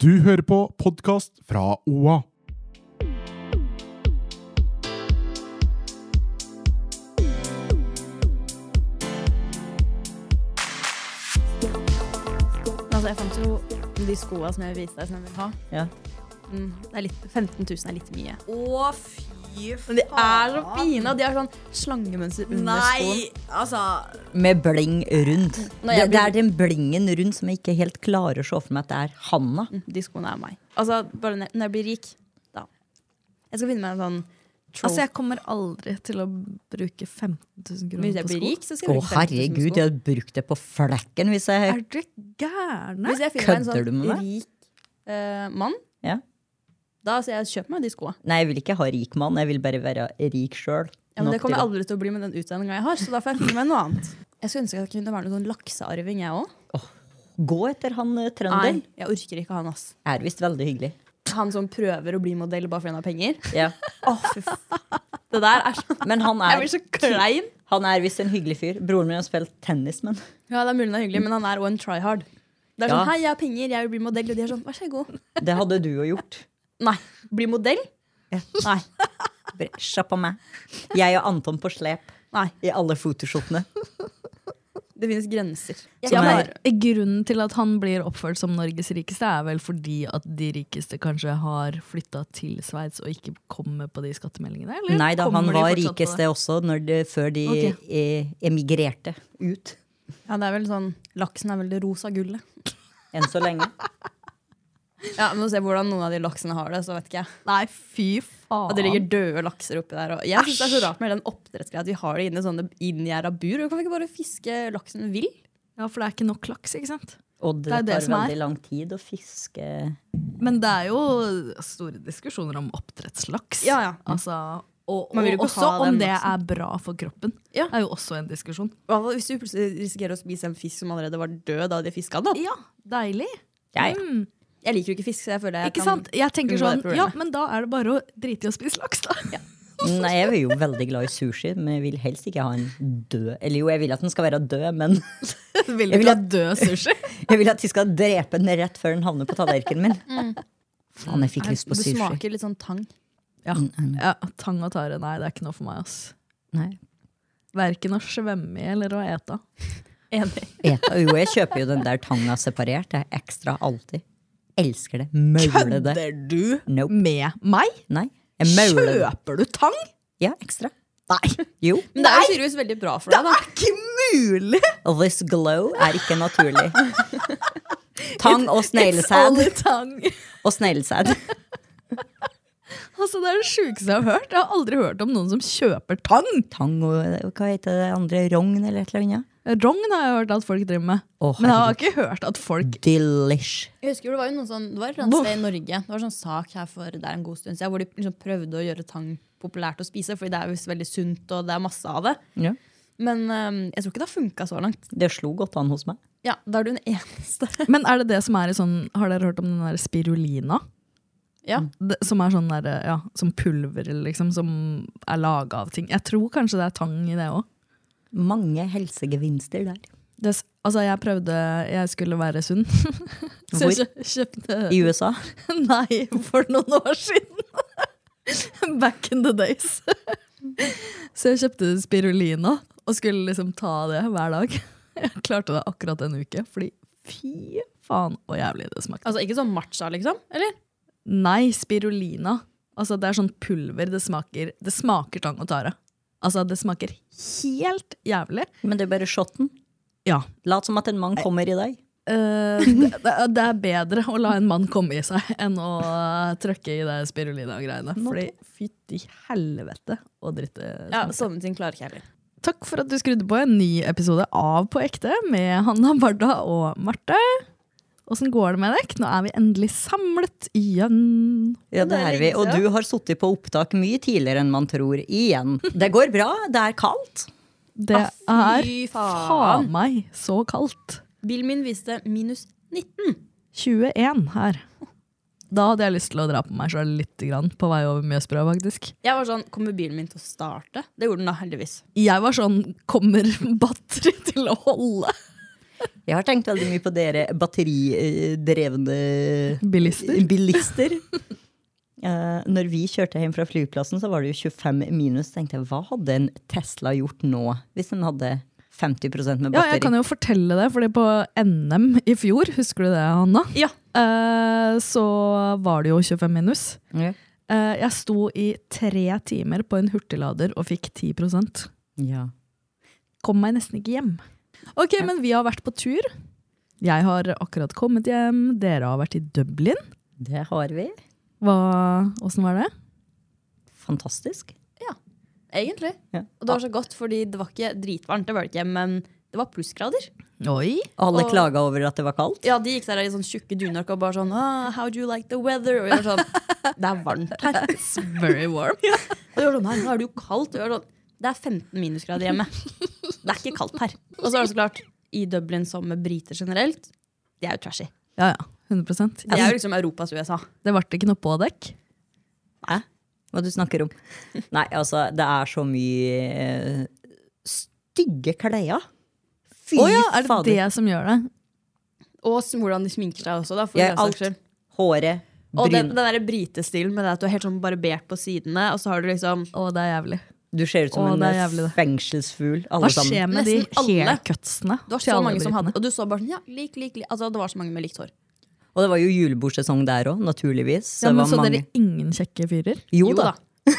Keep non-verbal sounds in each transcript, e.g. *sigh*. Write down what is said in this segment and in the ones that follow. Du hører på podkast fra OA. Altså, jeg fant jo de skoene som jeg viste deg som jeg vil ha. Mm, det er litt, 15 000 er litt mye. Å, fy faen. Men de er så fine, og de har sånn slangemønster under skoen. Nei, altså Med bling rundt. Når jeg Det, det er den blingen rundt som jeg ikke helt klarer å se for meg at det er Hanna. Mm, De skoene er meg. Altså, bare når når jeg blir rik, da. Jeg skal finne meg en sånn tro. Altså, jeg kommer aldri til å bruke 15 000 Hvis kroner jeg på blir sko. rik, så skal Å, jeg bruke 15 000 herregud, jeg på sko. hadde brukt det på flekken hvis jeg Er dere gærne? Hvis jeg finner meg Kødder du en med sånn meg? rik eh, mann, Ja. da sier jeg kjøp meg de skoene. Nei, jeg vil ikke ha rik mann, jeg vil bare være rik sjøl. Ja, men det kommer jeg aldri til å bli med den utdanninga jeg har, så da får jeg finne meg noe annet. Jeg skulle ønske at jeg kunne være noen sånn laksearving, jeg òg. Gå etter han eh, trønderen. Nei, jeg orker ikke han, ass. Er visst veldig hyggelig. Han som prøver å bli modell bare fordi han har penger. Ja. *laughs* Åh, fy f- Det der er sånn Men han Jeg er, blir så klein. han er visst en hyggelig fyr. Broren min har spilt tennis, men Ja, det er mulig det er hyggelig, men han er også en tryhard. Det er Ja. sånn, Hei, jeg har penger, jeg vil bli modell. Og de er sånn, vær så god. det hadde du jo gjort. Nei. Bli modell? Nei. Bare, Kjapp av meg. Jeg og Anton på slep Nei. i alle photoshopene. Det finnes grenser. Jeg, Som bare- er- Grunnen til at han blir oppført som Norges rikeste, er vel fordi at de rikeste kanskje har flytta til Sveits og ikke kommer på de skattemeldingene? Eller? Nei da, han Kommer de var fortsatt på rikeste det? også når de, før de Ok. eh, emigrerte ut. ja, det er vel sånn Laksen er vel det rosa gullet. Enn så lenge. Ja, men å se hvordan noen av de laksene har det, så vet ikke jeg. Nei, fy faen. Og det ligger døde lakser oppi der. Og jeg synes det er så rart med den oppdrettsgreia at vi har det inne i sånne inngjerda bur. Kan vi ikke bare fiske laksen vi vil? Ja, for det er ikke nok laks, ikke sant? Og det, Det er det tar som er. veldig lang tid å fiske Men det er jo store diskusjoner om oppdrettslaks. Ja, ja. Altså, og, Man vil jo ikke og også ha den om det laksen. er bra for kroppen. Ja. er jo også en diskusjon. I hvert fall Hvis du plutselig risikerer å spise en fisk som allerede var død da de fiska den. da. Ja, deilig. Ja, ja. Mm. Jeg liker jo ikke fisk, så jeg føler jeg Ikke kan sant? Jeg tenker unngå det sånn, problemet. ja, men da er det bare å drite i å spise laks, *laughs* da. Nei, jeg er jo veldig glad i sushi, men jeg vil helst ikke ha en død Eller jo, jeg vil at den skal være død, men *laughs* Vil Jeg ikke vil ha død *laughs* sushi. jeg vil at de skal drepe den rett før den havner på tallerkenen min. Mm. Faen, jeg fikk lyst på Det sushi. smaker litt sånn tang. Ja. ja, Tang og tare, nei, det er ikke noe for meg, ass. Nei. Verken å svømme i eller å ete. Enig. Eta, jo, jeg kjøper jo den der tanga separert. Det er ekstra alltid. Elsker det. Mauler det. du Nope. med meg? Nei. Jeg mauler det. du tang? Ja, ekstra. Nei. Jo. Men det er jo tydeligvis veldig bra for deg, da. Ikke mulig! This glow er ikke naturlig. Tang og sneglesæd. tang. Og sneglesæd. Altså, det er det sjukeste jeg har hørt. Jeg har aldri hørt om noen som kjøper tang. Tang og hva heter det andre? Rogn eller et eller annet? Rogn har jeg hørt at folk driver med. Å, Men jeg har ikke hørt at folk Delish. Jeg husker jo Det var jo noen sånn, det var et eller annet sted i Norge Det var sånn sak her for det er en god stund siden hvor de liksom prøvde å gjøre tang populært å spise. Fordi det er jo veldig sunt, og det er masse av det. Ja. Men øhm, jeg tror ikke det har funka så langt. Det slo godt an hos meg. Ja, Da er du den eneste. Men er det det som er i sånn Har dere hørt om den der spirulina? *laughs* Ja. Det, som er sånn der, ja, som pulver, liksom, som er laga av ting. Jeg tror kanskje det er tang i det òg. Mange helsegevinster der. Altså, jeg prøvde Jeg skulle være sunn. Så jeg kjø- kjøpte I USA. *laughs* Nei, for noen år siden. *laughs* Back in the days. *laughs* Så jeg kjøpte spirulina og skulle liksom ta det hver dag. *laughs* Jeg klarte det akkurat en uke, fordi fy faen hvor jævlig det smakte. Altså Ikke sånn matcha, liksom? Eller? Nei, spirulina. Altså, det er sånn pulver. Det smaker, det smaker tang og tare. Altså, det smaker helt jævlig. Men det er bare shotten. Ja. Lat som at en mann kommer i deg. Eh, *laughs* det, det- det er bedre å la en mann komme i seg enn å eh, trøkke i det spirulina-greiene. Fordi fytti helvete og dritte. Ja, Sånne ting klarer ikke jeg heller. Takk for at du skrudde på en ny episode av På ekte med Hanna Barda og Marte. Åssen går det med dere? Nå er vi endelig samlet igjen. Ja, det er vi. Og du har sittet på opptak mye tidligere enn man tror. Igjen. Det går bra. Det er kaldt. Det Ah, er fy faen. faen meg så kaldt. Bilen min viste minus 19. 21 her. Da hadde jeg lyst til å dra på meg sjøl litt grann, på vei over Mjøsbrua, faktisk. Jeg var sånn, kommer bilen min til å starte? Det gjorde den da, heldigvis. Jeg var sånn Kommer *laughs* batteri til å holde? Jeg har tenkt veldig mye på dere batteridrevne Bilister. bilister. *laughs* Eh, Når vi kjørte hjem fra flyplassen, så var det jo 25 minus. tenkte jeg, Hva hadde en Tesla gjort nå, hvis den hadde 50 med Ja, jeg kan batteri? jo fortelle det, fordi på NM i fjor, husker du det, Hanna? Ja. Eh, så var det jo 25 minus. Ja, Eh, jeg sto i tre timer på en hurtiglader og fikk 10 ja. Kom meg nesten ikke hjem. Ok, men vi har vært på tur. Jeg har akkurat kommet hjem, dere har vært i Dublin. Det har vi. Hva, åssen var det? Fantastisk. Egentlig. Ja. Og det var så godt, fordi det var ikke dritvarmt, det var det ikke, men det var plussgrader. Oi! Alle Og- klaga over at det var kaldt. *laughs* Ja, de gikk der i sånn tjukke dunjakker og bare sånn, ah, how do you like the weather? Og jeg var sånn, det er varmt her. It's very warm. Og de var sånn, nei, nå er det jo kaldt. Og jeg var sånn, det er 15 minusgrader hjemme. Det er ikke kaldt her. Og så er det så klart, i Dublin som med briter generelt, de er jo trashy. Ja, ja. 100 De er jo liksom Europas USA. Det ble ikke noe på dekk. Hæ? Hva du snakker *laughs* om? Nei, altså, det er så mye eh, stygge klær. Fy Å ja, er det det som gjør det? Og s- hvordan de sminker seg også, da. For Jeg, den saks alt. skyld. Håret, Og bryn. den, den der brite-stilen med det at du er helt sånn barbert på sidene, og så har du liksom Å, det er jævlig. Du ser ut som Å, en det er eh, jævlig, det. fengselsfugl, alle Hva skjer sammen. med de Nesten alle. haircutsene? Det var til så alle mange som britene? hadde Og du så bare sånn, ja, lik, lik, lik. Altså, det var så mange med likt hår. Og det var jo julebordsesong der òg, naturligvis. Så ja, det men var Så mange. dere ingen kjekke fyrer? Jo da. *laughs*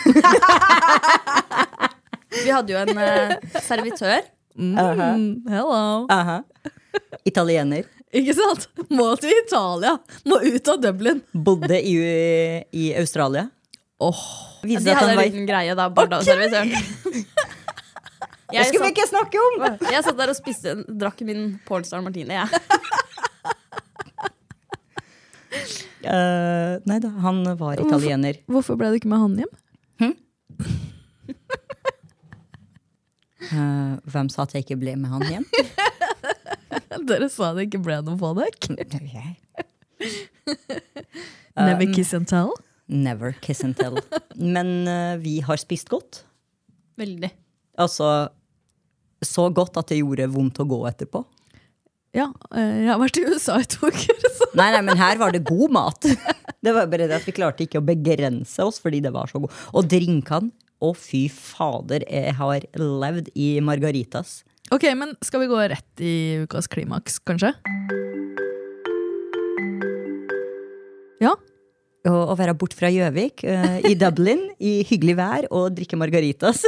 Vi hadde jo en eh, servitør. Mm, hello! *laughs* Aha. Italiener. Ikke sant? Må til Italia! Må ut av Dublin! Bodde i, i Australia. Åh, Viste De at hadde han en var liten greie da, bare da, *laughs* servitøren. Det Jeg skulle vi satt, ikke snakke om! jeg satt der og spiste, drakk min Pornstar Martini, jeg. Eh, nei da, han var italiener. Hvorfor ble du ikke med han hjem? Eh, hvem sa at jeg ikke ble med han *laughs* hjem? Dere sa det ikke ble noe på dekk. Jeg. Never kiss and tell. Never kiss and tell. Men eh, vi har spist godt. Veldig. Altså så godt at det gjorde vondt å gå etterpå. Ja, eh, jeg har vært i USA i to uker. *laughs* Så. Nei, nei, men her var det god mat. Det var bare det at vi klarte ikke å begrense oss fordi det var så god. Og drinkene Å, fy fader, jeg har levd i margaritas. Ok, men skal vi gå rett i ukas klimaks, kanskje? Ja, Å, å være bort fra Gjøvik, eh, i Dublin, i hyggelig vær, og drikke margaritas.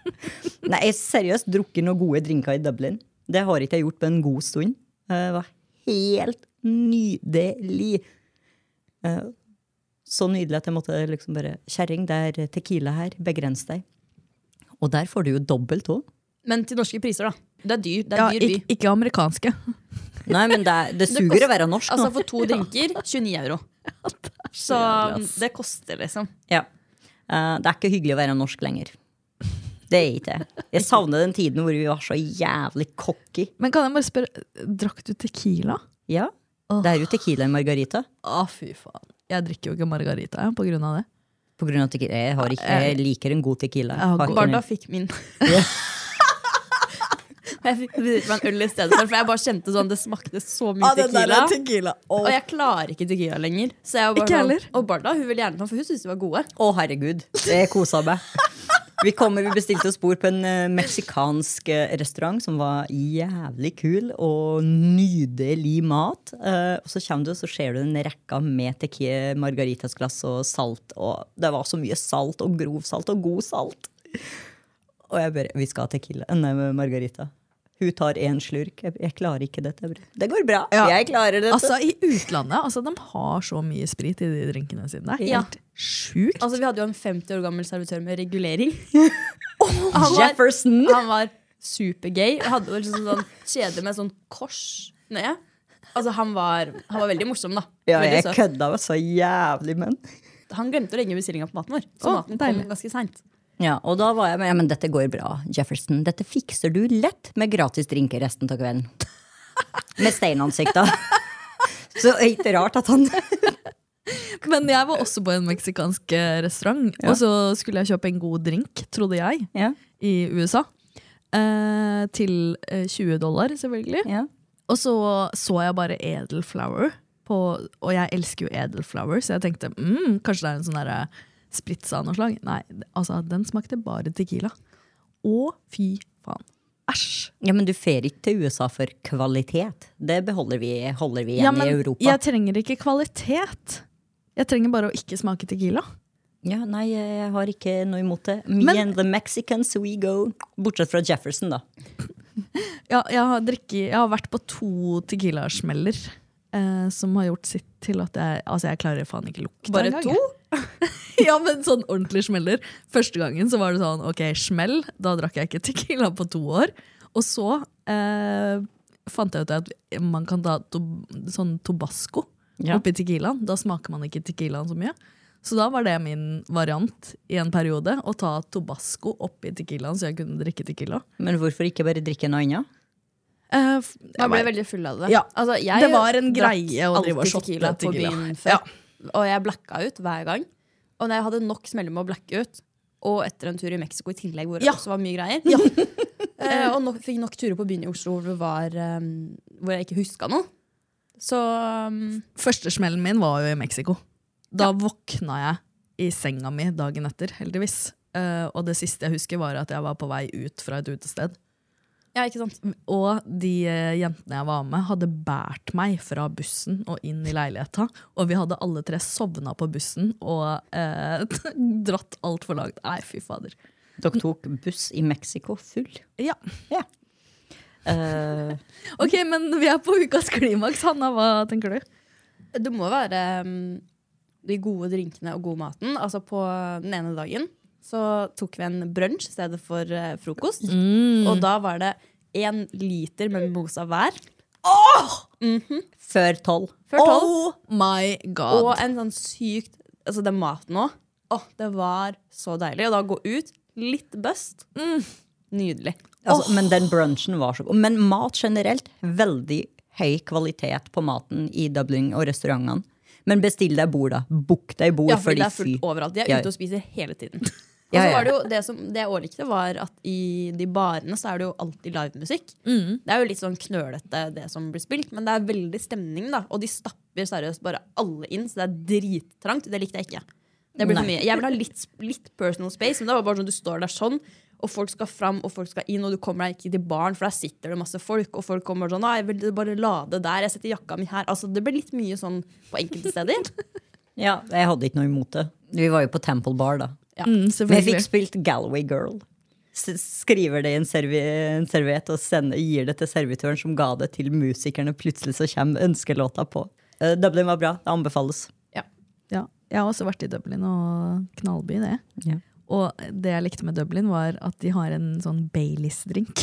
*laughs* Nei, jeg seriøst drukket noen gode drinker i Dublin. Det har ikke jeg gjort på en god stund. Eh, Det var helt nydelig. Eh, Så nydelig at jeg måtte liksom bare Kjerring, det er Tequila her. Begrens deg. Og der får du jo dobbelt òg. Men til norske priser, da. Det er dyr. Det er ja dyr by. ikke, ikke amerikanske. Nei, men det, er- *laughs* det suger å være norsk nå. Altså for *laughs* to drinker 29 euro. Så mm, det koster, liksom. Ja. Eh, det er ikke hyggelig å være norsk lenger. Det er ikke det. Jeg savner den tiden hvor vi var så jævlig cocky. Men kan jeg bare spørre, drakk du tequila? Ja. Det er jo Tequila og Margarita. Å, fy faen. Jeg drikker jo ikke margarita jeg, på grunn av det. På grunn av at tequila. Jeg, har ikke, jeg liker en god tequila. Ja, Har ikke Barda noe- fikk min. *laughs* Og *laughs* jeg fikk drikke meg en øl i stedet for, for jeg bare kjente sånn det smakte så mye tequila. tequila. Og jeg klarer ikke tequila lenger. Så jeg var Ikke bare heller. sånn, og Barda hun ville gjerne ta, for hun syntes de var gode. Å, herregud. Jeg kosa meg. Vi, kom, vi bestilte oss bord på en eh, meksikansk eh, restaurant som var jævlig kul og nydelig mat. Eh, og så kommer du, og så ser du en rekke med tequila, margaritasglass og salt. Og det var så mye salt og grov salt og god salt. Og jeg bare Vi skal ha tequila. Eh, Nei, margarita. Hun tar én slurk. Jeg, jeg klarer ikke dette. Jeg bare, Det går bra. Ja. Jeg klarer dette. Altså, i utlandet, altså, de har så mye sprit i de drinkene sine. Det er Ja. helt sjukt. Altså Vi hadde jo en 50 år gammel servitør med *laughs* regulering. Oh, han var- Jefferson! Han var supergay. og Hadde jo liksom sånn kjede med sånn kors nede. Altså, han var, han var veldig morsom, da. Ja, veldig jeg søt. kødda jo så jævlig, men Han glemte å legge bestillinga på maten vår, så Å, maten deilig. kom ganske seint. Ja, og da var jeg med, ja, men dette går bra, Jefferson. Dette fikser du lett med gratis drinker resten av kvelden. *laughs* Med steinansikta. *laughs* Så ikke rart at han *laughs* Men jeg var også på en meksikansk eh, restaurant, og så skulle jeg kjøpe en god drink, trodde jeg, Ja, i USA. Eh, til eh, 20 dollar, selvfølgelig. ja. Og så så jeg bare Edelflower, på, og jeg elsker jo Edelflower, så jeg tenkte mm, kanskje det er en sånn derre spritz av noe slag. Nei, altså, den smakte bare tequila. Å, fy faen. Æsj. ja men du fer ikke til USA for kvalitet. Det beholder vi, holder vi igjen Ja, men i Europa. jeg trenger ikke kvalitet. Jeg trenger bare å ikke smake tequila. Ja, nei, jeg har ikke noe imot det. Me Men- and the Mexicans we go. Bortsett fra Jefferson, da. Ja, jeg, har drikket, jeg har vært på to tequila-smeller eh, som har gjort sitt til at jeg, altså jeg klarer faen ikke lukta. Bare engang, to? jeg. *laughs* ja, men sånn ordentlig smeller. Første gangen så var det sånn ok, smell. Da drakk jeg ikke tequila på to år. Og så eh, fant jeg ut at man kan ta to, sånn tobasco Ja. oppi tequilaen. Da smaker man ikke tequilaen så mye. Så da var det min variant i en periode, å ta tobasco oppi tequilaen så jeg kunne drikke tequila. Men hvorfor ikke bare drikke noe annet? Eh, f- jeg Man ble bare- veldig full av det. Ja. Altså, jeg Det var en drakk greie å drive og alltid shotte tequila på tequila. byen før. Og jeg blacka ut hver gang. Og når jeg hadde nok smeller med å blacke ut, og etter en tur i Mexico i tillegg, hvor det Ja. også var mye greier *laughs* eh, Og nok, fikk nok turer på byen i Oslo hvor, det var, ehm, hvor jeg ikke huska noe. Så ehm, Første smellen min var jo i Mexico. Da våkna jeg i senga mi dagen etter, heldigvis. Eh, og det siste jeg husker, var at jeg var på vei ut fra et utested. Ja, ikke sant? Og de eh, jentene jeg var med, hadde båret meg fra bussen og inn i leiligheta. Og vi hadde alle tre sovna på bussen og eh, *laughs* dratt altfor langt. Nei, fy fader. Dere tok buss i Mexico full. Ja. Ja. Eh, Ok, men vi er på ukas klimaks. Hanna, hva tenker du? Det må være um, de gode drinkene og god maten. Altså på den ene dagen så tok vi en brunsj i stedet for eh, frokost. Mm. Og da var det én liter med mimosa hver. før tolv. Før tolv. Oh my god. Og en sånn sykt Altså den maten òg. Åh, det var så deilig. Og da gå ut, litt bust. Nydelig. Altså, Men den brunchen var så god. Men mat generelt, veldig høy kvalitet på maten i Dublin og restaurantene. Men bestill deg bord, da. Book deg bord. Ja, fordi det er fy- fullt overalt. De er Ja. ute og spiser hele *laughs* tiden. Og Ja, så ja. var det jo det, som, det jeg også likte, var at i de barene så er det jo alltid livemusikk. Mm. Det er jo litt sånn knølete, det som blir spilt, men det er veldig stemning, da. Og de stapper seriøst bare alle inn, så det er drittrangt. Det likte jeg ikke. Det blir for mye. Jeg vil ha litt, litt personal space, men det var bare sånn du står der sånn, og folk skal fram, og folk skal inn, og du kommer deg ikke til baren, for der sitter det masse folk, og folk kommer sånn, «Nei, jeg vil bare lade der, jeg setter jakka mi her. Altså, det ble litt mye sånn på enkelte steder. Ja, jeg hadde ikke noe imot det. Vi var jo på Temple Bar, da. Mm, Men jeg fikk selvfølgelig. spilt Galway Girl. S skriver det i en, servi en serviett og sender, gir det til servitøren, som ga det til musikerne. Plutselig så kommer ønskelåta på. Eh, Dublin var bra. Det anbefales. Ja. Jeg har også vært i Dublin og knallby, det. Ja. Og det jeg likte med Dublin, var at de har en sånn Baileys-drink.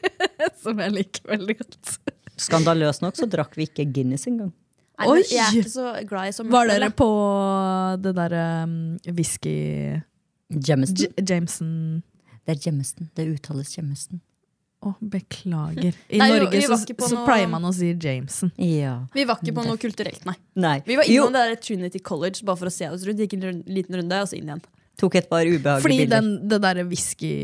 *laughs* som jeg liker veldig godt. Skandaløst nok så drakk vi ikke Guinness engang. Nei, men Oi! Jeg er ikke så glad i som Var dere på det derre um, whisky J Jemison. Jameson Det er Jemison. Det uttales Jemison. Å, beklager. I Nei, jo, Norge vi så, var ikke på så noe- pleier man å si Jameson. Ja. Vi var ikke på noe kulturelt, nei. Nei. Vi var innom Mm. jo, det der Trinity College bare for å se oss rundt. Gikk en rund- liten runde, og så inn igjen. tok et par ubehagelige Fordi bilder. den, det derre jeg elsker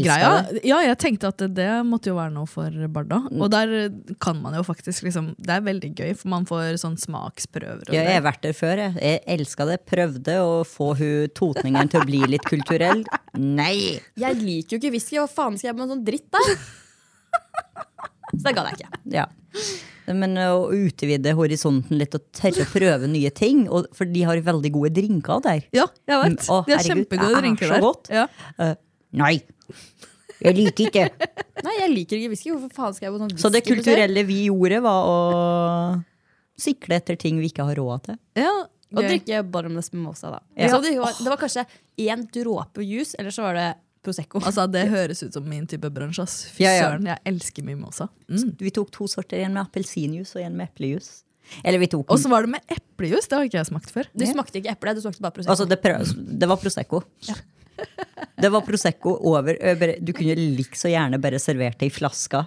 whiskygreia Ja, jeg tenkte at det, det måtte jo være noe for Barda. Og der kan man jo faktisk liksom Det er veldig gøy, for man får sånn smaksprøver. Og Ja, jeg det. har vært der før. Jeg, jeg elska det. Prøvde å få hun totningen til å bli litt kulturell. Nei! Jeg liker jo ikke whisky, hva faen skal jeg med sånn dritt der? Så det gadd jeg ikke. Ja. Men å utvide horisonten litt og tørre å prøve nye ting. Og, for de har veldig gode drinker der. Ja, jeg vet. Mm, å, De har herregud, kjempegode det er drinker så der. godt. Ja. Nei! Jeg liker ikke. Nei, jeg liker ikke whisky. Hvorfor faen skal jeg på sånn Så det whiskymuseum? kulturelle vi gjorde, var å sikle etter ting vi ikke har råd til. Ja, Og gøy. drikke bottomless mimosa, da. Ja. Så det, var, det var kanskje én dråpe juice, eller så var det Prosecco. Altså, det høres ut som min type bransje. ass. Fy Ja, ja. søren, jeg elsker mimosa. Mm. Vi tok to sorter, en med appelsinjuice og en med eplejus. Eller vi tok Og så var det med eplejus. Det har ikke jeg smakt *laughs* før. Du smakte ikke eple, du smakte bare Prosecco. Altså, det, prø- det var Prosecco. *laughs* Det var Prosecco over, over Du kunne like så gjerne bare servert det i flaska.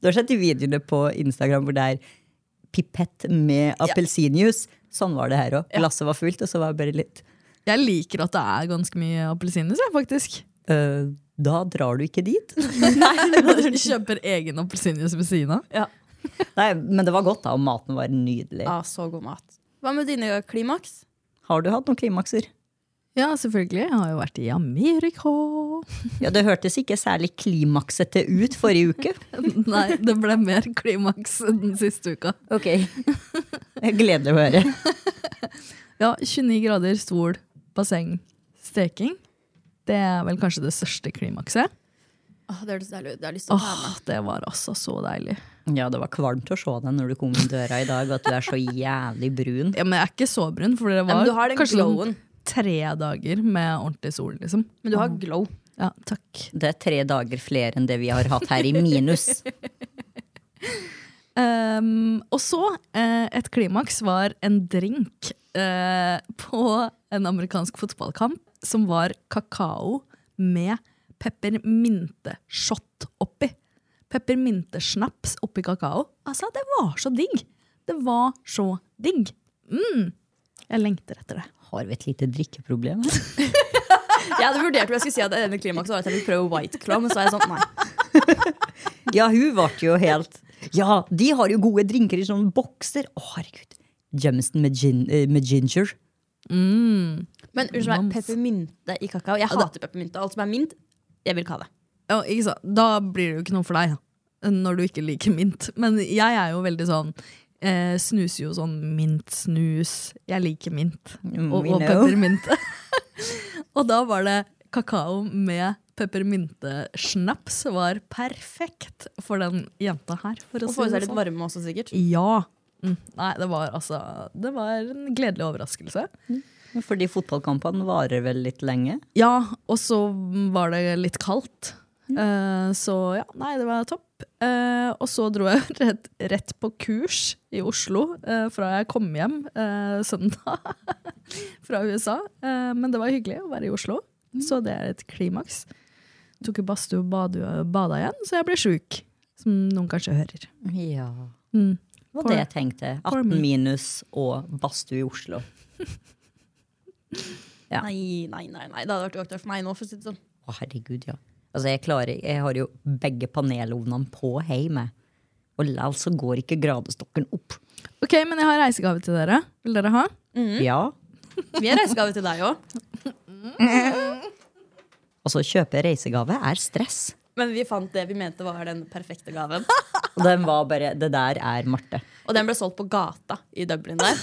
du har sett de videoene på Instagram hvor det er pipett med appelsinjuice. Sånn var det her òg. Glasset var fullt, og så var det bare litt *laughs* Jeg liker at det er ganske mye appelsinjuice, jeg, faktisk. *laughs* «Øh, Da drar du ikke dit. *laughs* Jeg *laughs* kjøper egen appelsinjuice ved siden av. Nei, men det var godt, da, og maten var nydelig. Ja, Ah, så god mat. Hva med dine klimaks? Har du hatt noen klimakser? Ja, selvfølgelig. Jeg har jo vært i Amerika. Ja, Det hørtes ikke særlig klimaksete ut forrige uke. *laughs* Nei, det ble mer klimaks den siste uka. *laughs* Ok. Gledelig å høre. Ja, 29 grader, sol, basseng, steking. Det er vel kanskje det største klimakset. Åh, det høres deilig ut. Det har jeg lyst til å ta Åh, med. det var altså så deilig. Ja, det var kvalmt å se deg når du kom inn døra i dag, at du er så jævlig brun. Ja, men jeg er ikke så brun, for det Nei, var men du har den kanskje sånn glowen. tre dager med ordentlig sol, liksom. Men du har glow. Ja, takk. Det er tre dager flere enn det vi har hatt her i minus. Ehm, og så, eh, et klimaks var en drink eh, på en amerikansk fotballkamp som var kakao med peppermynteshot oppi. Peppermyntesnaps oppi kakao. Altså, det var så digg! Det var så digg. Mm. Jeg lengter etter det. Har vi et lite drikkeproblem her? Jeg hadde vurdert om jeg skulle si at det ene klimakset var at jeg ville prøve White Claw, men så er jeg sånn, nei. Ja, hun ble jo helt Ja, de har jo gode drinker i sånne bokser. Å, herregud. Jameson med, gin, eh, med ginger. Mm. Men unnskyld meg, peppermynte i kakao. Jeg hater peppermynte. Alt som er mint, jeg vil ikke ha det. Ja, ikke sant? Da blir det jo ikke noe for deg, da, når du ikke liker mint. Men jeg er jo veldig sånn eh, Snuser jo sånn mintsnus. Jeg liker mint. og Mm, we og know. peppermynte. *laughs* og da var det kakao med peppermyntesnaps var perfekt for den jenta her. For å Og få si i seg det litt sånn. varme også, sikkert. Ja. Mm. Nei, det var altså Det var en gledelig overraskelse. Fordi fotballkampene varer vel litt lenge. Ja, og så var det litt kaldt. Eh, så ja, nei, det var topp. Eh, og så dro jeg *laughs* rett, rett på kurs i Oslo eh, fra jeg kom hjem eh, søndag *laughs* fra USA. Eh, men det var hyggelig å være i Oslo, så det er et klimaks. Tok jo badstue og bade- bada igjen, så jeg ble sjuk. Som noen kanskje hører. Ja. Mm. Det var For- det jeg tenkte. for 18 me. minus og badstue i Oslo. Ja. Nei, nei, nei, nei. Det hadde vært uaktuelt for meg nå. for å si det sånn. Å, herregud, ja. Altså, jeg, klarer, jeg har jo begge panelovnene på hjemme. Og likevel så går ikke gradestokken opp. Ok, men jeg har reisegave til dere. Vil dere ha? Mm. Ja. Vi er reisegave til deg òg. Altså, å kjøpe reisegave er stress. Men vi fant det vi mente var den perfekte gaven. Og den var bare Det der er Marte. Og den ble solgt på gata i Dublin der.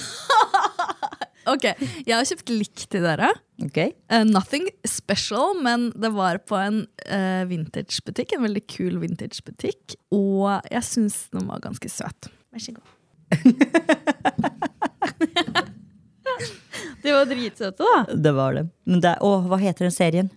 Ok, Jeg har kjøpt likt til dere. Ok? Eh, nothing special, men det var på en eh, vintagebutikk. En veldig kul vintagebutikk. Og jeg syns den var ganske søt. Vær så god. De var dritsøte, da. Det var det. Men det er, å, hva heter den serien?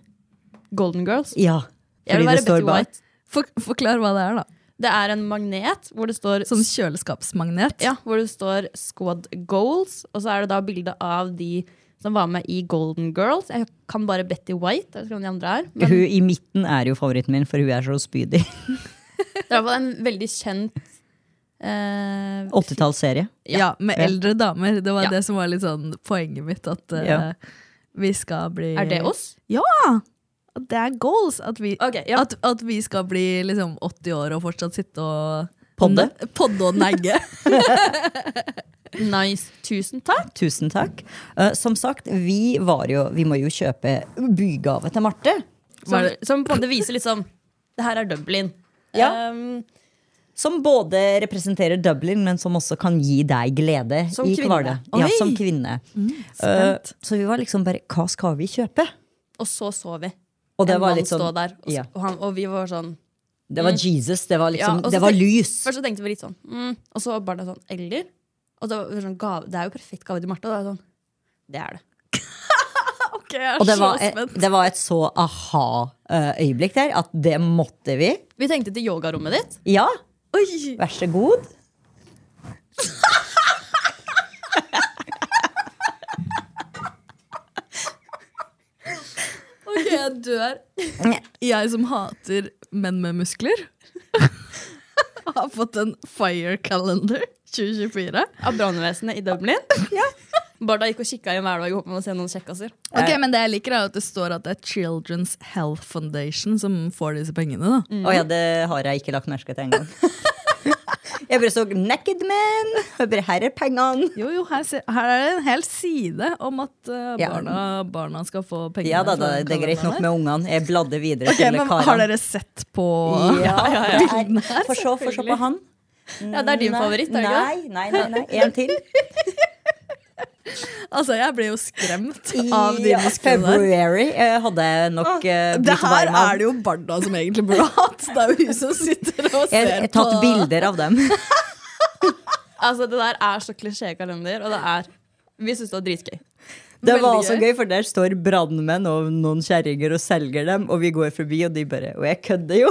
Golden Girls. Ja. Jeg vil fordi være det står Betty bak. White. For, forklar hva det er, da. Det er en magnet hvor det står Sånn kjøleskapsmagnet. Ja, hvor det står Squad Goals, og så er det da bilde av de som var med i Golden Girls. Jeg kan bare Betty White. Jeg vet ikke hvem de andre er. Men Hun i midten er jo favoritten min, for hun er så spydig. *laughs* det er i hvert fall en veldig kjent eh, 80-tallsserie. Ja, med Ja. eldre damer. Det var Ja. det som var litt sånn poenget mitt. At eh, Ja. vi skal bli Er det oss? At Det er goals! At vi, Ok, ja. at, at vi skal bli liksom 80 år og fortsatt sitte og Podde. Ne- podde og negge. Nice. Tusen takk. Tusen takk. Eh, som sagt, vi var jo Vi må jo kjøpe bygave til Marte. Var Som, som på en måte viser liksom Det her er Dublin. Ja. Um, Som både representerer Dublin, men som også kan gi deg glede Som i kvinne. Kvale. Ja, Oi! Mm, som kvinne. Eh, så vi var liksom bare Hva skal vi kjøpe? og så så vi Og det en var mann litt sånn stå der, og, ja. så, og, han, og vi var sånn Det var Jesus. Det var liksom Ja, og så Det var tenk- lys. Først så tenkte vi litt sånn, mm, og så var barna sånn, eller? Og så var det sånn gave, det er jo perfekt gave til Martha. Da. Sånn, det er det. Ok, jeg er Og det var, *laughs* så et, spent. det var et så aha-øyeblikk der at det måtte vi. Vi tenkte til yogarommet ditt. Ja, Oi! vær så god. Ok, jeg dør. Jeg som hater menn med *laughs* muskler, har fått en fire calendar 2024. Av brannvesenet i Dublin. *laughs* Barda gikk og kikka inn hver dag i håp om å se noen kjekkaser. Ok, Men det jeg liker, er jo at det står at det er Children's Health Foundation som får disse pengene. da. Å ja, det har jeg ikke lagt merke til *laughs* engang. jeg bare så naked men. Jeg bare, her er pengene. Jo, jo, her, se- her er det en hel side om at eh, Ja. barna, barna skal få pengene. Ja da, fra da, den det er greit nok kalenderen med ungene. Jeg bladde videre der. Ok, til men karene. Har dere sett på ja, *laughs* bildene her? Få se, få se på han. Ja, Det er din favoritt, er det ikke det? Nei, nei, nei. nei. En *laughs* til. Altså, jeg ble jo skremt av de Ja, musklene der. February eh, hadde jeg nok eh, Det blitt her varm av. er det jo Barda som egentlig burde hatt. Det er jo hun som sitter og Jeg ser har på tatt bilder av *laughs* dem. Altså, Det der er så klisjékalender, og det er Vi syns det var dritgøy. Det var Veldig også gøy, for der står brannmenn og noen kjerringer og selger dem, og vi går forbi, og de bare Og jeg kødder jo!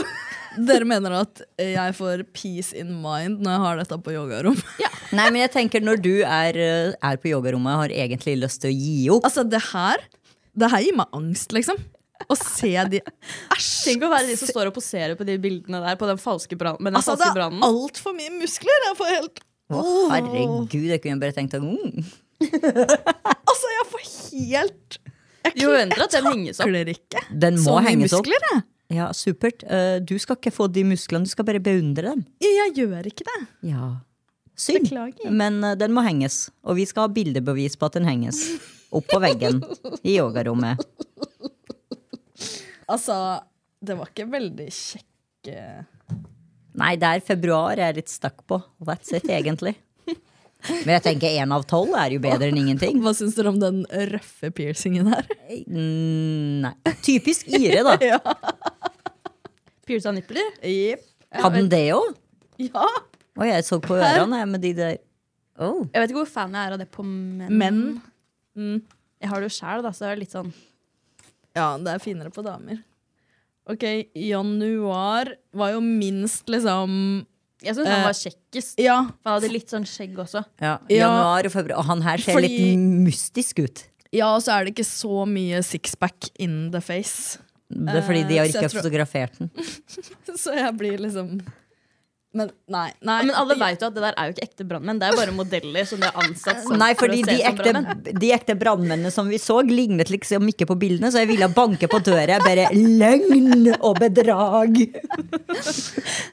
Dere mener at jeg får peace in mind når jeg har dette på yogarom? *laughs* Nei, men jeg tenker når du er, eh, er på yogarommet og har egentlig lyst til å gi opp Altså, det her Det her gir meg angst, liksom. Å se de Æsj! Tenk å være de som står og poserer på de bildene der, på den falske brannen. Med den Altså, det falske er brannen. altfor mye muskler! Jeg får helt Å, herregud, jeg kunne bare tenkt at mm. Altså, jeg får helt Jo, venter at den henges opp. Takler ikke. Den må Så mye henges opp. muskler, jeg. Ja, supert. Eh, Du skal ikke få de musklene, du skal bare beundre dem. Jeg- Jeg gjør ikke det. Ja. Synd, Beklager. men eh, den må henges. Og vi skal ha bildebevis på at den henges. Opp på veggen i yogarommet. Altså, det var ikke veldig kjekke Nei, det er februar jeg er litt stuck på. That's it, egentlig. Men jeg tenker én av tolv er jo bedre enn ingenting. Hva syns dere om den røffe piercingen her? Mm, Nei. Typisk Ire, da. Pierce av nipler. Hadde den det òg? Ja! Å, jeg så på ørene jeg, med de der oh. Jeg vet ikke hvor fan jeg er av det på menn. Men Jeg har det jo sjæl, da, så det er litt sånn Ja, det er finere på damer. Ok, januar var jo minst liksom Jeg syns han var kjekkest. Ja, For Han hadde litt sånn skjegg også. ja. Ja. Januar og februar. Og han her ser Fordi- litt mystisk ut. ja og så er det ikke så mye sixpack in the face. *laughs* Det er fordi de har Eh, så ikke jeg tror- fotografert den. Så jeg blir liksom Men nei. nei. Men alle veit jo at det der er jo ikke ekte brannmenn, det er jo bare modeller som de har ansatt. sånn Nei, for å fordi se de som ekte, brandmenn. de ekte brannmennene som vi så, lignet liksom ikke på bildene, så jeg ville banke på døra. Jeg Bare løgn og bedrag!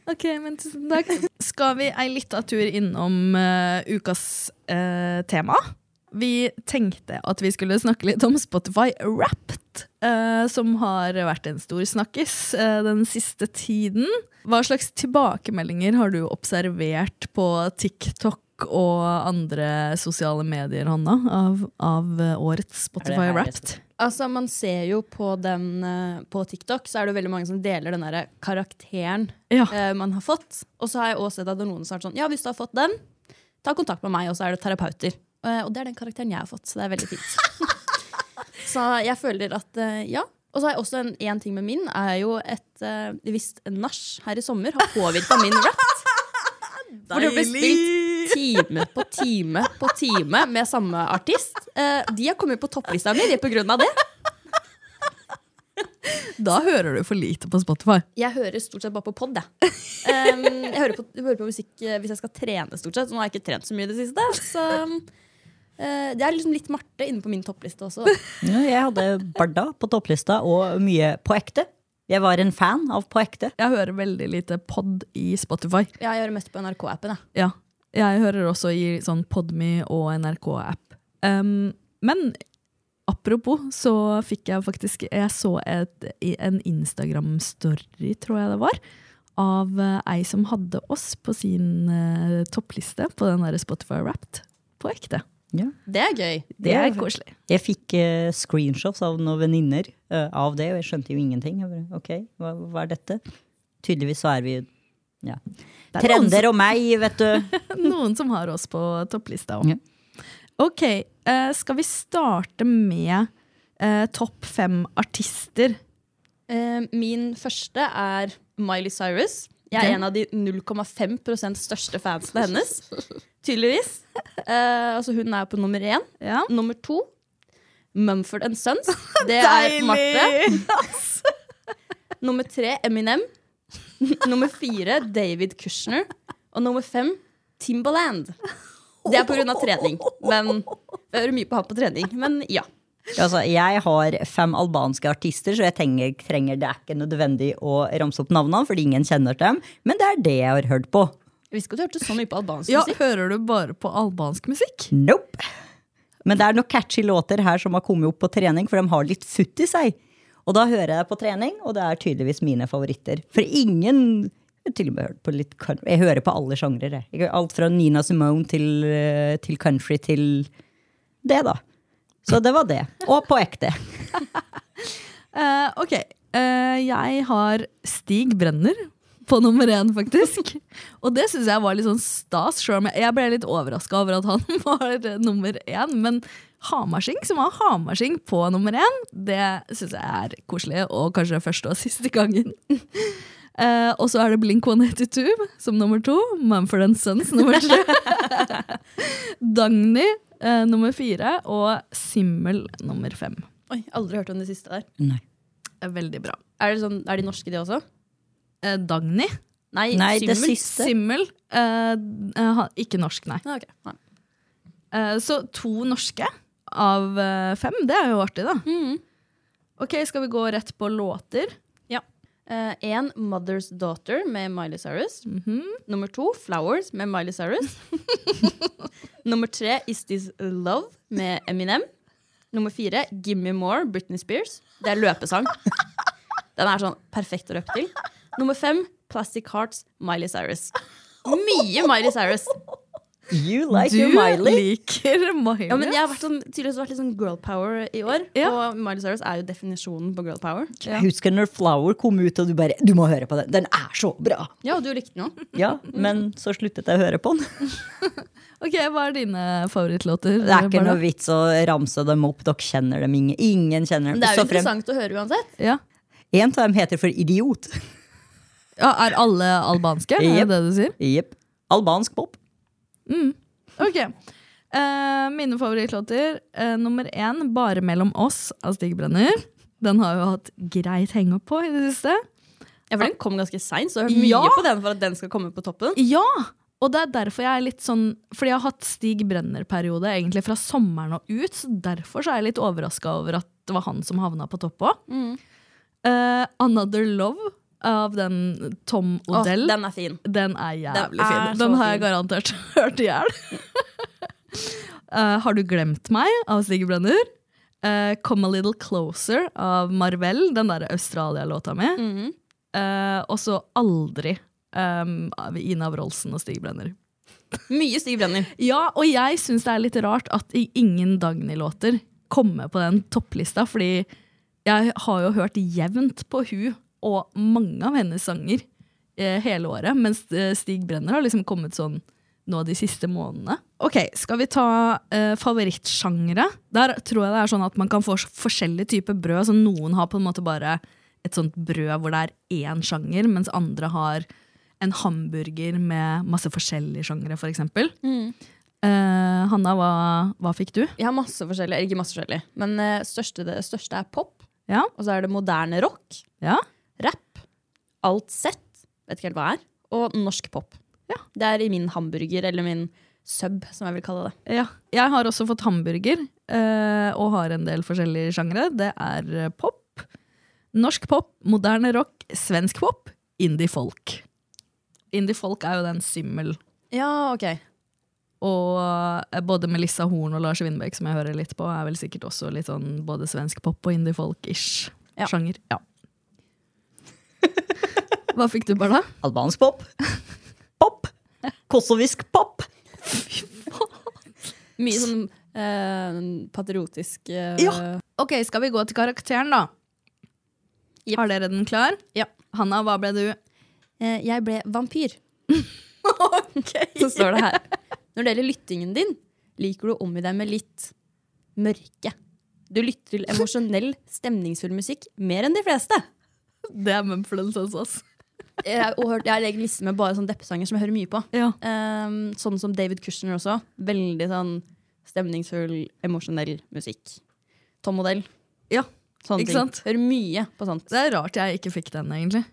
Ok, men tusen takk. Skal vi ei lita tur innom eh, ukas eh, tema? Vi tenkte at vi skulle snakke litt om Spotify Wrapped, eh, som har vært en stor snakkis eh, den siste tiden. Hva slags tilbakemeldinger har du observert på TikTok og andre sosiale medier, Hanna, av, av eh, årets Spotify her jeg Wrapped? Altså, Man ser jo på, den, eh, på TikTok så er det jo veldig mange som deler den der karakteren Ja. eh, man har fått. Og så har jeg også sett at noen har vært sånn Ja, hvis du har fått den, ta kontakt med meg, og så er det terapeuter. Eh, og det er den karakteren jeg har fått, så det er veldig fint. så jeg føler at eh, ja. Og så har jeg også en, en ting med min, er jo et eh, visst nach her i sommer har påvirka min rett. Hvor det ble spilt time på time på time med samme artist. Eh, de har kommet på topplista mi de på grunn av det. Da hører du for lite på Spotify. Jeg hører stort sett bare på pod, jeg. Um, jeg hører på, jeg hører på musikk eh, hvis jeg skal trene, stort sett. Nå har jeg ikke trent så mye i det siste. Så eh, det er liksom litt Marte inne på min toppliste også. Ja, jeg hadde Barda på topplista, og mye på ekte. Jeg var en fan av på ekte. Jeg hører veldig lite pod i Spotify. Jeg hører mest på NRK-appen, jeg. Ja. Jeg hører også i sånn Podme og NRK-app. Um, men apropos, så fikk jeg faktisk Jeg så et, i- en Instagram-story, tror jeg det var, av eh, ei som hadde oss på sin eh, toppliste på den der Spotify Wrapped. På ekte. Det er gøy. Det er koselig. Jeg fikk eh, screenshots av noen venninner eh, av det, og jeg skjønte jo ingenting. Jeg bare, ok, hva, hva er dette? Tydeligvis så er vi ja. er noen Trender og meg, vet *laughs* du. Noen som har oss på topplista òg. Ja. Ok, eh, skal vi starte med eh, topp fem artister. Eh, min første er Miley Cyrus. Jeg Ok. er en av de 0,5 største fansene hennes. Tydeligvis. Eh, altså hun er på nummer én. Ja. Nummer to Mumford and *laughs* Sons. Det er Marte. Nummer tre Eminem. *laughs* nummer fire David Kushner. Og nummer fem Timbaland. Det er pga. trening. Men jeg hører mye på han på trening. Men ja. Ja, Altså, jeg har fem albanske artister, så jeg trenger, trenger det er ikke nødvendig å ramse opp navnene, fordi ingen kjenner dem. Men det er det jeg har hørt på. Jeg visste ikke at du hørte så mye på albansk Ja, musikk. hører du bare på albansk musikk? Nope. Men det er noen catchy låter her som har kommet opp på trening, for de har litt futt i seg. Og da hører jeg på trening, og det er tydeligvis mine favoritter. For ingen jeg har til og med hørt på litt country. Jeg hører på alle sjangrer. jeg. Jeg. hører Alt fra Nina Simone til, eh, til country til det, da. Så det var det. Og på ekte. Eh, ok, Eh, jeg har Stig Brenner på nummer én, *laughs* faktisk. Og det syns jeg var litt sånn stas. selv om jeg- Jeg ble litt overraska over at han *laughs* var eh, nummer én, men Hamarsing, som har Hamarsing på nummer én, det syns jeg er koselig, og kanskje første og siste gangen. *laughs* Eh, og så er det Blink 182 som nummer to. Mumford and Sons nummer tre. *laughs* Dagny eh, nummer fire, og Simmel nummer fem. Oi, aldri hørt om det siste der. Eh, Veldig bra. Er, det sånn, er de norske, de også? Eh, Dagny. Nei, Nei, det Simmel. siste Simmel. eh, eh, ha- ikke norsk, nei. Ah, ok. Nei. Eh, så to norske av eh, fem. Det er jo artig, da. Mm. Ok, Skal vi gå rett på låter? Eh, En Mother's Daughter med Miley Cyrus. Nummer to Flowers med Miley *laughs* Cyrus. Nummer tre Is This Love med Eminem. Nummer fire Gimme More Britney Spears. Det er løpesang. Den er sånn perfekt å løpe til. Nummer fem Plastic Hearts Miley Cyrus. Mye Miley Cyrus. You like Du your Miley. liker Miley. Ja, men jeg har vært sånn, tydeligvis vært litt sånn girl power i år. Ja. Og Miley Cyrus er jo definisjonen på girl power. Jeg husker når Flower kom ut, og du bare Du må høre på den! Den er så bra! Ja, og du likte den jo. Ja, men så sluttet jeg å høre på den. Ok, Hva er dine favorittlåter? Det er ikke noe Barda? vits å ramse dem opp. Dere kjenner dem ingen. Ingen kjenner dem. Det er jo Så frem- interessant å høre uansett. Ja. En av dem heter for Idiot. *laughs* Ja, er alle albanske? Er Jep. det det du sier? Jepp. Albansk pop. Ok. Eh, mine favorittlåter. eh, nummer én, 'Bare mellom oss' av Stig Brenner. Den har jo hatt greit hengeopp på i det siste. Ja, for den kom ganske seint, så jeg har hørt mye Ja. på den for at den skal komme på toppen. Ja! Og det er derfor jeg er litt sånn Fordi jeg har hatt Stig Brenner-periode egentlig fra sommeren og ut, så derfor så er jeg litt overraska over at det var han som havna på topp òg. Eh, 'Another Love' av den Tom Åh, Odell. den, den er fin. er jævlig Den er så fin. Den har jeg fin. garantert *laughs* hørt i hjel. *laughs* Eh, 'Har du glemt meg?' av Stig Brenner. Eh, 'Come a Little Closer' av Marvel, den der Australia-låta mi. Mhm. Eh, og så 'Aldri' um, av Ina Wroldsen og Stig Brenner. Mye Stig Brenner. Ja, og jeg syns det er litt rart at i- ingen Dagny-låter kommer på den topplista, fordi jeg har jo hørt jevnt på hun og mange av hennes sanger eh, hele året, mens eh, Stig Brenner har liksom kommet sånn nå de siste månedene. Ok, Skal vi ta eh, favorittsjangre? Der tror jeg det er sånn at man kan få s- forskjellige typer brød. Så noen har på en måte bare et sånt brød hvor det er én sjanger, mens andre har en hamburger med masse forskjellige sjangre, for eksempel. Eh, Hanna, hva, hva fikk du? Jeg har masse forskjellig, eller ikke masse forskjellig, men eh, største, det største er pop. Ja. Og så er det moderne rock, Ja. rap, alt sett, vet ikke helt hva er, og norsk pop. Ja. Det er i min hamburger, eller min sub, som jeg vil kalle det. Ja. Jeg har også fått hamburger, eh, og har en del forskjellige sjangre. Det er eh, pop, norsk pop, moderne rock, svensk pop, indie-folk. Indie-folk er jo den simmel. Ja, ok. Og eh, både Melissa Horn og Lars Vindbæk, som jeg hører litt på, er vel sikkert også litt sånn både svensk pop og indie-folk-ish Ja. sjanger. Ja. Hva fikk du, Barda? Albansk pop. Pop. Kosovisk pop. Mye sånn eh, patriotisk eh, Ja. Ok, skal vi gå til karakteren da? Jep. Har dere den klar? Ja. Hanna, hva ble du? eh, Jeg ble vampyr. Så står det her. Når det gjelder lyttingen din, liker du å omgi deg med litt mørke. Du lytter til emosjonell, stemningsfull musikk mer enn de fleste. *laughs* Det er Mumphlens også, ass. Jeg har hørt- jeg har egen liste med bare sånne deppesanger som jeg hører mye på. Ja. Ehm, sånn som David Kushner også. Veldig sånn stemningsfull, emosjonell musikk. Tom Modell. Ja, Sånne ikke ting. sant? Hører mye på sånt. Det er rart jeg ikke fikk den, egentlig.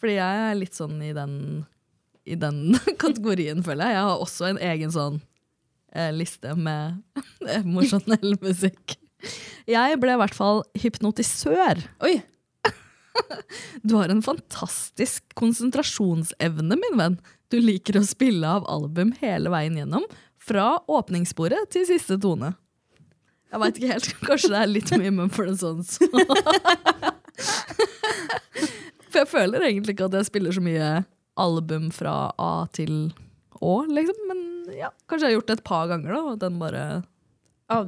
Fordi jeg er litt sånn i den, i den *laughs* kategorien, føler jeg. Jeg har også en egen sånn eh, liste med *laughs* emosjonell musikk. Jeg ble i hvert fall hypnotisør. Oi! Du har en fantastisk konsentrasjonsevne, min venn. Du liker å spille av album hele veien gjennom, fra åpningssporet til siste tone. Jeg veit ikke helt, *laughs* kanskje det er litt mye Mumford sånn. *laughs* For jeg føler egentlig ikke at jeg spiller så mye album fra A til Å, liksom. Men ja, kanskje jeg har gjort det et par ganger, da. Og den bare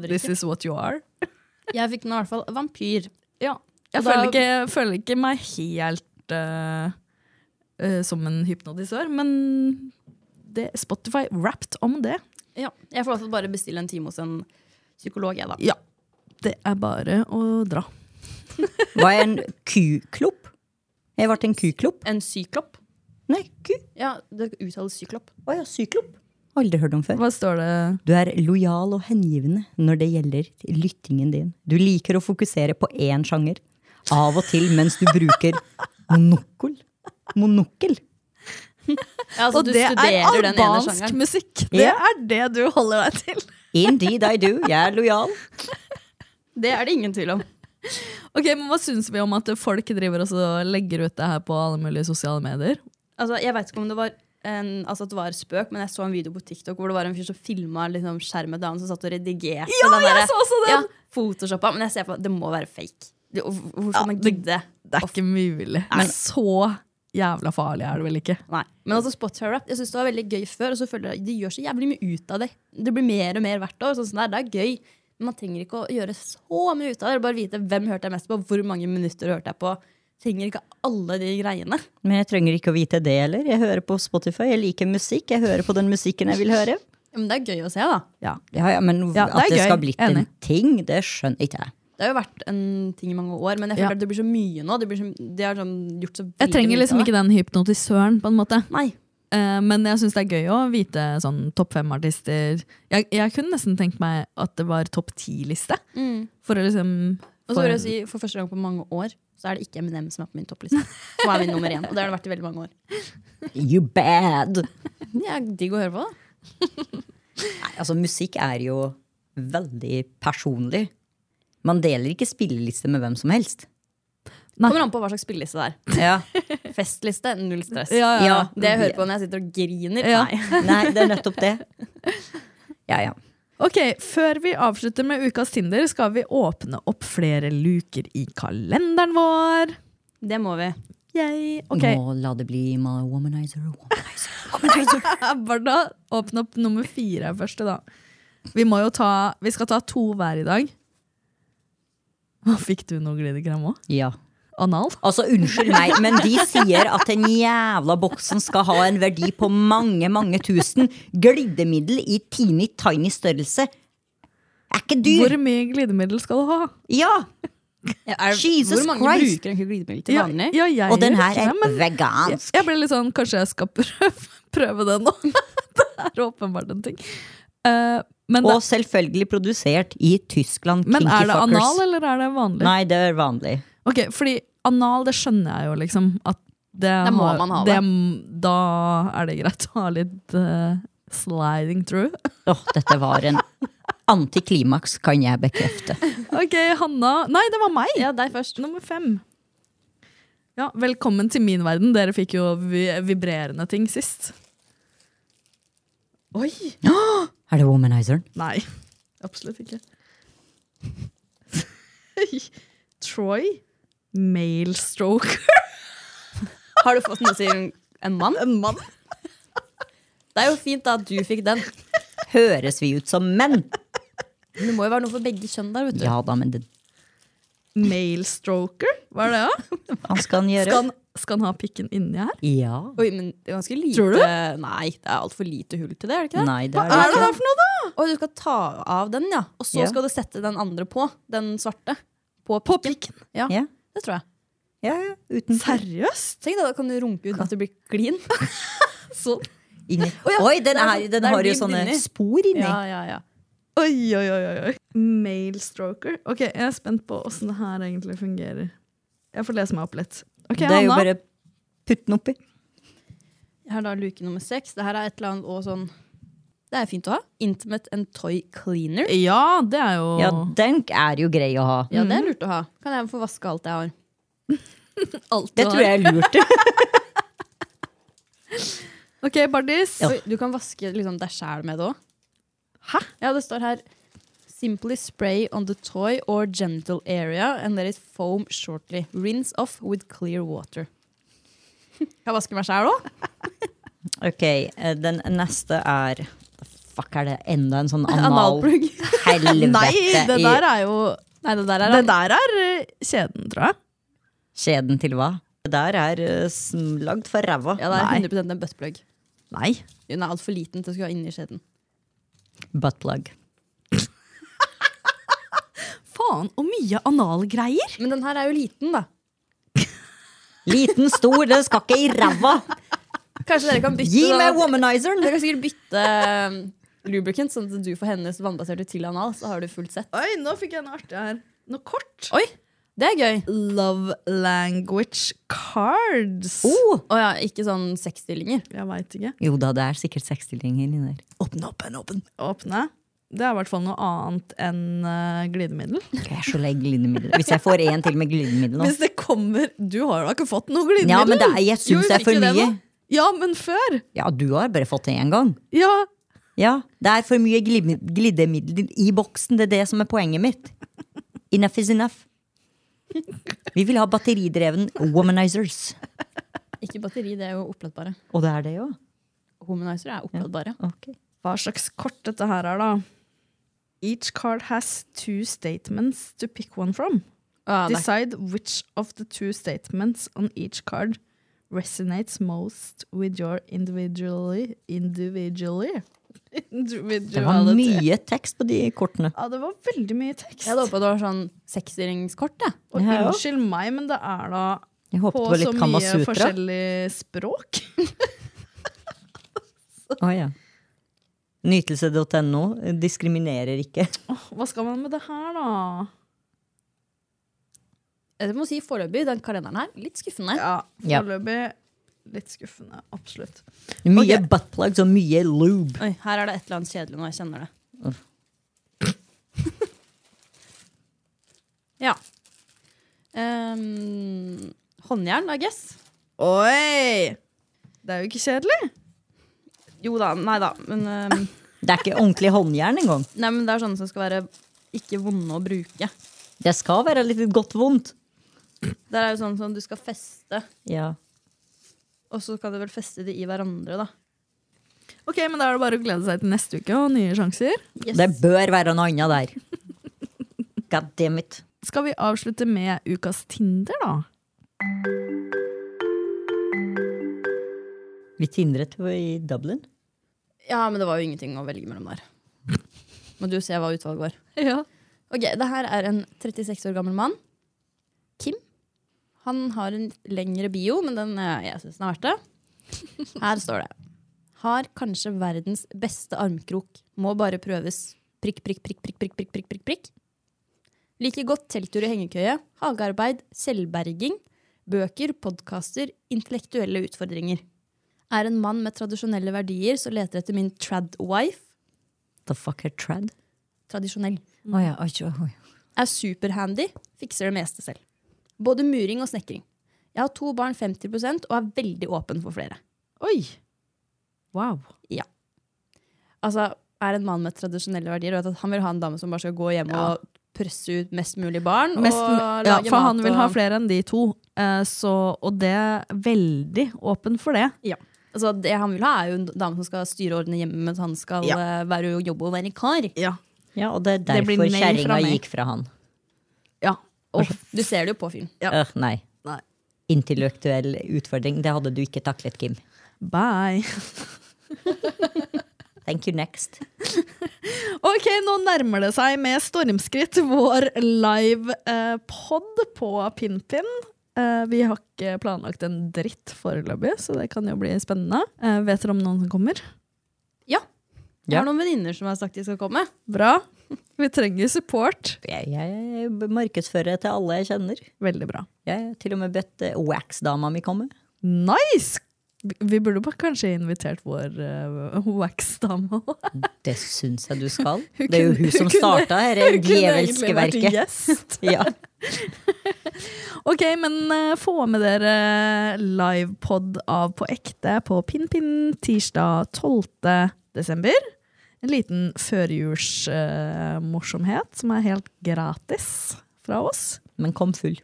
This is what you are. Jeg fikk den i hvert fall vampyr. Ja. Jeg Og da- føler, ikke, jeg føler ikke meg helt eh, eh, som en hypnotisør, men det, Spotify rapped om det. Ja. Jeg får i hvert fall bare bestille en time hos en psykolog, jeg, da. Ja. Det er bare å dra. Hva er en kuklopp? Jeg ble en kuklopp. En syklopp. Nei, ku. Ja, det uttales syklopp. Å ja, syklopp. Aldri hørt om før. Hva står det? Du er lojal og hengivende når det gjelder lyttingen din. Du liker å fokusere på én sjanger, av og til mens du bruker monokkel. Monokkel? Ja, altså, Og du det er studerer den ene albansk sjangeren. musikk! Det Ja. er det du holder deg til. Indeed I do. Jeg er lojal. Det er det ingen tvil om. *laughs* Ok, men Hva syns vi om at folk driver og så legger ut det her på alle mulige sosiale medier? Altså, jeg vet ikke om det var en, altså at det var spøk, men jeg så en video på TikTok hvor det var en fyr som filma liksom, skjermen til han som satt og redigerte. Ja, jeg så også den! Photoshoppa. Men jeg ser på, det må være fake. Det, hvor- hvorfor skal man det- gidde? Det er ikke mulig. Men så jævla farlig er det vel ikke? Nei. Men altså Spotify-rap jeg synes det var veldig gøy før, og så føler jeg de gjør så jævlig mye ut av det. Det blir mer og mer hvert år. Sånn, som det er, det er gøy. Men man trenger ikke å gjøre så mye ut av det. Bare vite hvem hørte jeg mest på, hvor mange minutter hørte jeg på. Trenger ikke alle de greiene. Men jeg trenger ikke å vite det heller. Jeg hører på Spotify, jeg liker musikk. Jeg hører på den musikken jeg vil høre. Men det er gøy å se, da. Ja, ja, ja Men Ja, det er at det gøy. skal ha blitt en Enig. ting, det skjønner ikke jeg. Det har jo vært en ting i mange år, men jeg Ja. føler at det blir så mye nå. Det blir så, de har sånn, gjort så Jeg trenger liksom ikke den hypnotisøren, på en måte. Nei. Eh, men jeg syns det er gøy å vite sånn topp fem-artister. Jeg, jeg kunne nesten tenkt meg at det var topp ti-liste. Mm. For å liksom Og så for- vil jeg si, for første gang på mange år, så er det ikke Eminem som er på min toppliste. Som er min nummer én, og det har det vært i veldig mange år. You bad! *laughs* Det er digg å høre på, da. Nei, altså musikk er jo veldig personlig. Man deler ikke spilleliste med hvem som helst. Kommer an på hva slags spilleliste *laughs* det er. Ja. Festliste, null stress. Ja, ja. Ja. Det jeg hører på når jeg sitter og griner, Ja. nei. *laughs* Nei, det er nettopp det. Ja, ja. Ok, Før vi avslutter med ukas Tinder, skal vi åpne opp flere luker i kalenderen vår. Det må vi. Yay. Ok, *laughs* Nå la det bli my womanizer. womanizer. Barda, åpne opp nummer fire først, da. Vi, må jo ta, vi skal ta to hver i dag. Å, Fikk du noe glidekrem òg? Ja. Anal? Altså, unnskyld meg, men de sier at den jævla boksen skal ha en verdi på mange, mange tusen. Glidemiddel i teeny tiny størrelse. Er ikke Hvor dyr! mye glidemiddel skal du ha? Ja! Jesus Hvor mange Christ! bruker egentlig glidemiddel til vanlig? Ja, ja, jeg Og den gjør her ikke det, er men jeg, vegansk. jeg ble litt sånn, kanskje jeg skal *laughs* prøve, prøve det nå. *laughs* det er åpenbart en ting. Eh, men, Og det, selvfølgelig produsert i Tyskland. men kinky er det fuckers. anal, eller er det vanlig? Nei, det er vanlig. Ok, fordi anal, det skjønner jeg jo liksom. At det, Da må har- man ha Da er det greit å ha litt eh, sliding through. Åh, dette var en antiklimaks, kan jeg bekrefte. Ok, Hanna. Nei, det var meg! Ja, deg først. Nummer fem. Ja, velkommen til min verden. Dere fikk jo vi vibrerende ting sist. Oi! Er det womanizeren? Nei, absolutt ikke. Troy male stroker. Har du fått noe til en mann? En mann? Det er jo fint da at du fikk den. Høres vi ut som menn? Men det må jo være noe for begge kjønn der, vet du. Ja da, men det Male stroker? Hva er det, da? hva skal han gjøre? Skal, han- skal han ha pikken inni her? Ja. Oi, men det er ganske lite Tror du? Nei, det er altfor lite hull til det, er det ikke det? Nei, det er det Hva er det ikke. her for noe, da? Og du skal ta av den, ja. Og så Ja. skal du sette den andre på. Den svarte. På pikken. Ja, Ja. det tror jeg. Ja, ja, uten Seriøst? Tenk da, da kan du runke uten at det blir glin. sånn. Inni. ja, Oi, den, der- er, den der har jo blir den sånne inni. spor inni. Ja, ja, ja. Oi, oi, oi, oi, oi. Male stroker. Ok, jeg er spent på åssen det her egentlig fungerer. Jeg får lese meg opp litt. Ok, det er jo Hanna. bare putt den oppi. Jeg har da luke nummer seks. Det her er et eller annet og sånn Det er fint å ha. Intimate and toy cleaner. Ja, det er jo Ja, den er jo grei å ha. Ja, det er lurt å ha. Kan jeg få vaske alt jeg har. alt Det du tror har. jeg er lurt. Ok, Bardis. Ja. Oi, du kan vaske liksom, deg sjæl med det òg. Hæ? Ja, det står her Simply spray on the toy or genital area and let it foam shortly. Rinse off with clear water. Kan *laughs* jeg vaske meg sjæl òg? Ok, eh, den neste er Fuck, er det enda en sånn anal... Analplugg. *laughs* Helvete Nei, det i der er jo Nei, det der er Det der er eh, kjeden, tror jeg. Skjeden til hva? Det der er eh, sm- lagd for ræva. Ja, det Nei. er 100 en buttplug. Nei. Den er altfor liten til å skulle ha inni skjeden. Buttplug. Faen, og mye analgreier! Men den her er jo liten, da. Liten, stor, den skal ikke i ræva! Kanskje dere kan bytte Gi da. meg womanizeren! Dere kan sikkert bytte um, lubricant, sånn at du får hennes vannbaserte til anal. Så har du fullt sett. Oi, nå fikk jeg noe artig her. Noe kort. Oi, det er gøy. Love language cards. Oh, Å ja, ikke sånn sexstillinger. Jeg veit ikke. jo da, det er sikkert sexstillinger inni der. Åpne opp, åpne. Åpne. Det er i hvert fall noe annet enn eh, glidemiddel. Jeg er så lei glidemiddel. Hvis jeg får en til med glidemiddel nå. Hvis det kommer Du har da ikke fått noe glidemiddel? Ja, men det er, jeg Jo, vi syns det er fikk jo for mye. nå. Ja, men før! Ja, du har bare fått det én gang. Ja. Ja, Det er for mye glid- glidemiddel i boksen. Det er det som er poenget mitt. Enough is enough. Vi vil ha batteridreven womanizers. Ikke batteri, det er jo oppladbare. Og det er det jo. Humanizer er oppladbare. Ok. Hva slags kort dette her er, da? Each card has two statements to pick one from. Ja, det er- Decide which of the two statements on each card resonates most with your individually individually *laughs* Det var individuality. mye tekst på de kortene. Ja, det var veldig mye tekst. jeg hadde håpa det var sånn sexstillingskort. Ja. Og Ja, ja. unnskyld meg, men det er da Jeg håpet på det var så litt Kama mye Sutra. forskjellig språk. *laughs* Å, ja. Nytelse.no diskriminerer ikke. Åh, Hva skal man med det her, da? Jeg må si foreløpig, den kalenderen her, litt skuffende. Ja, Ja. foreløpig litt skuffende. Absolutt. Mye buttplugs og mye lube. Oi, her er det et eller annet kjedelig nå. Jeg kjenner det. *laughs* ja. Um, håndjern, I guess. Oi! Det er jo ikke kjedelig. Jo da, nei da. Men, um, Det er ikke ordentlig håndjern engang. nei, men det er sånne som skal være ikke vonde å bruke. Det skal være litt godt vondt. Det er jo sånn som du skal feste, Ja. og så kan du vel feste det i hverandre, da. Ok, men Da er det bare å glede seg til neste uke og nye sjanser. Yes. Det bør være noe annet der. God damn it. Skal vi avslutte med ukas Tinder, *laughs* da? Vi tindret jo i Dublin. Ja, men det var jo ingenting å velge mellom der. Må du se hva utvalget var. Ja. Ok, det her er en 36 år gammel mann. Kim. Han har en lengre bio, men den eh, jeg syns den er verdt det. Her står det. Har kanskje verdens beste armkrok. Må bare prøves. Prikk, prikk, prikk, prikk, prikk, prikk, prikk, prikk, prikk. Liker godt telttur i hengekøye, hagearbeid, selvberging, bøker, podkaster, intellektuelle utfordringer. Er en mann med tradisjonelle verdier som leter etter min trad-wife. The fuck er trad? Tradisjonell Å ja, oi, oi, oi. er superhandy, fikser det meste selv. Både muring og snekring. Jeg har to barn 50 og er veldig åpen for flere. Oi! Wow. Altså, Er en mann med tradisjonelle verdier og vet at han vil ha en dame som bare skal gå hjem og presse ut mest mulig barn. Mest, og ja, lage for han mat vil og, ha flere enn de to, eh, så, og det er veldig åpen for det. Altså, det han vil ha, er jo en dame som skal styre og ordne hjemme mens han skal Ja. eh, være og jobbe og være kar. Ja, og det er Det blir derfor nei fra kjerringa meg. gikk fra han. Ja. Og du ser det jo på fyren. Øh, nei. Nei. Intellektuell utfordring, det hadde du ikke taklet, Kim. Bye. Thank you, next. Ok, nå nærmer det seg med stormskritt vår live eh, pod på Pinpin. Eh, vi har ikke planlagt en dritt foreløpig, så det kan jo bli spennende. Eh, vet dere om noen som kommer? Ja. Jeg Ja. har noen venninner som har sagt de skal komme. Bra. *laughs* Vi trenger support. Jeg, jeg markedsfører til alle jeg kjenner. Veldig bra. Jeg har til og med bedt eh, wax-dama mi komme. Nice! Vi- Vi burde bare kanskje invitert vår eh, wax-dame òg. Det syns jeg du skal. Hun det er jo kunne- hun som hun *laughs* kunne- starta dette djevelske verket. gjest. Ja. Ok, men eh, få med dere eh, livepod av På ekte på Pinnpinn tirsdag 12. desember. En liten førjulsmorsomhet som er helt gratis fra oss. Men kom full.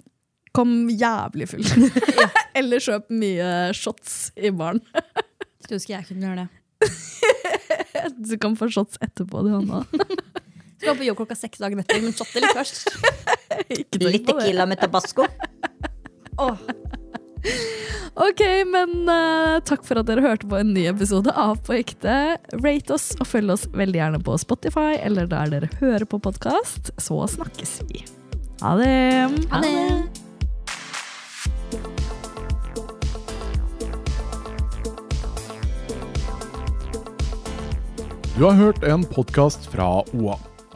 Kom jævlig *laughs* full. *laughs* Eller kjøp mye shots i baren. Skulle ønske jeg kunne gjøre det. Du kan få shots etterpå, du *laughs* Hanna. Skal på jobb klokka seks dagen etter, men shotte litt først. Ikke tenk Litt på det. Tequila med tabasco. Ok, men eh, takk for at dere hørte på en ny episode av På ekte. Rate oss og følg oss veldig gjerne på Spotify eller der dere hører på podkast. Så snakkes vi. Ha det. Ha det. Du har hørt en podkast fra OA.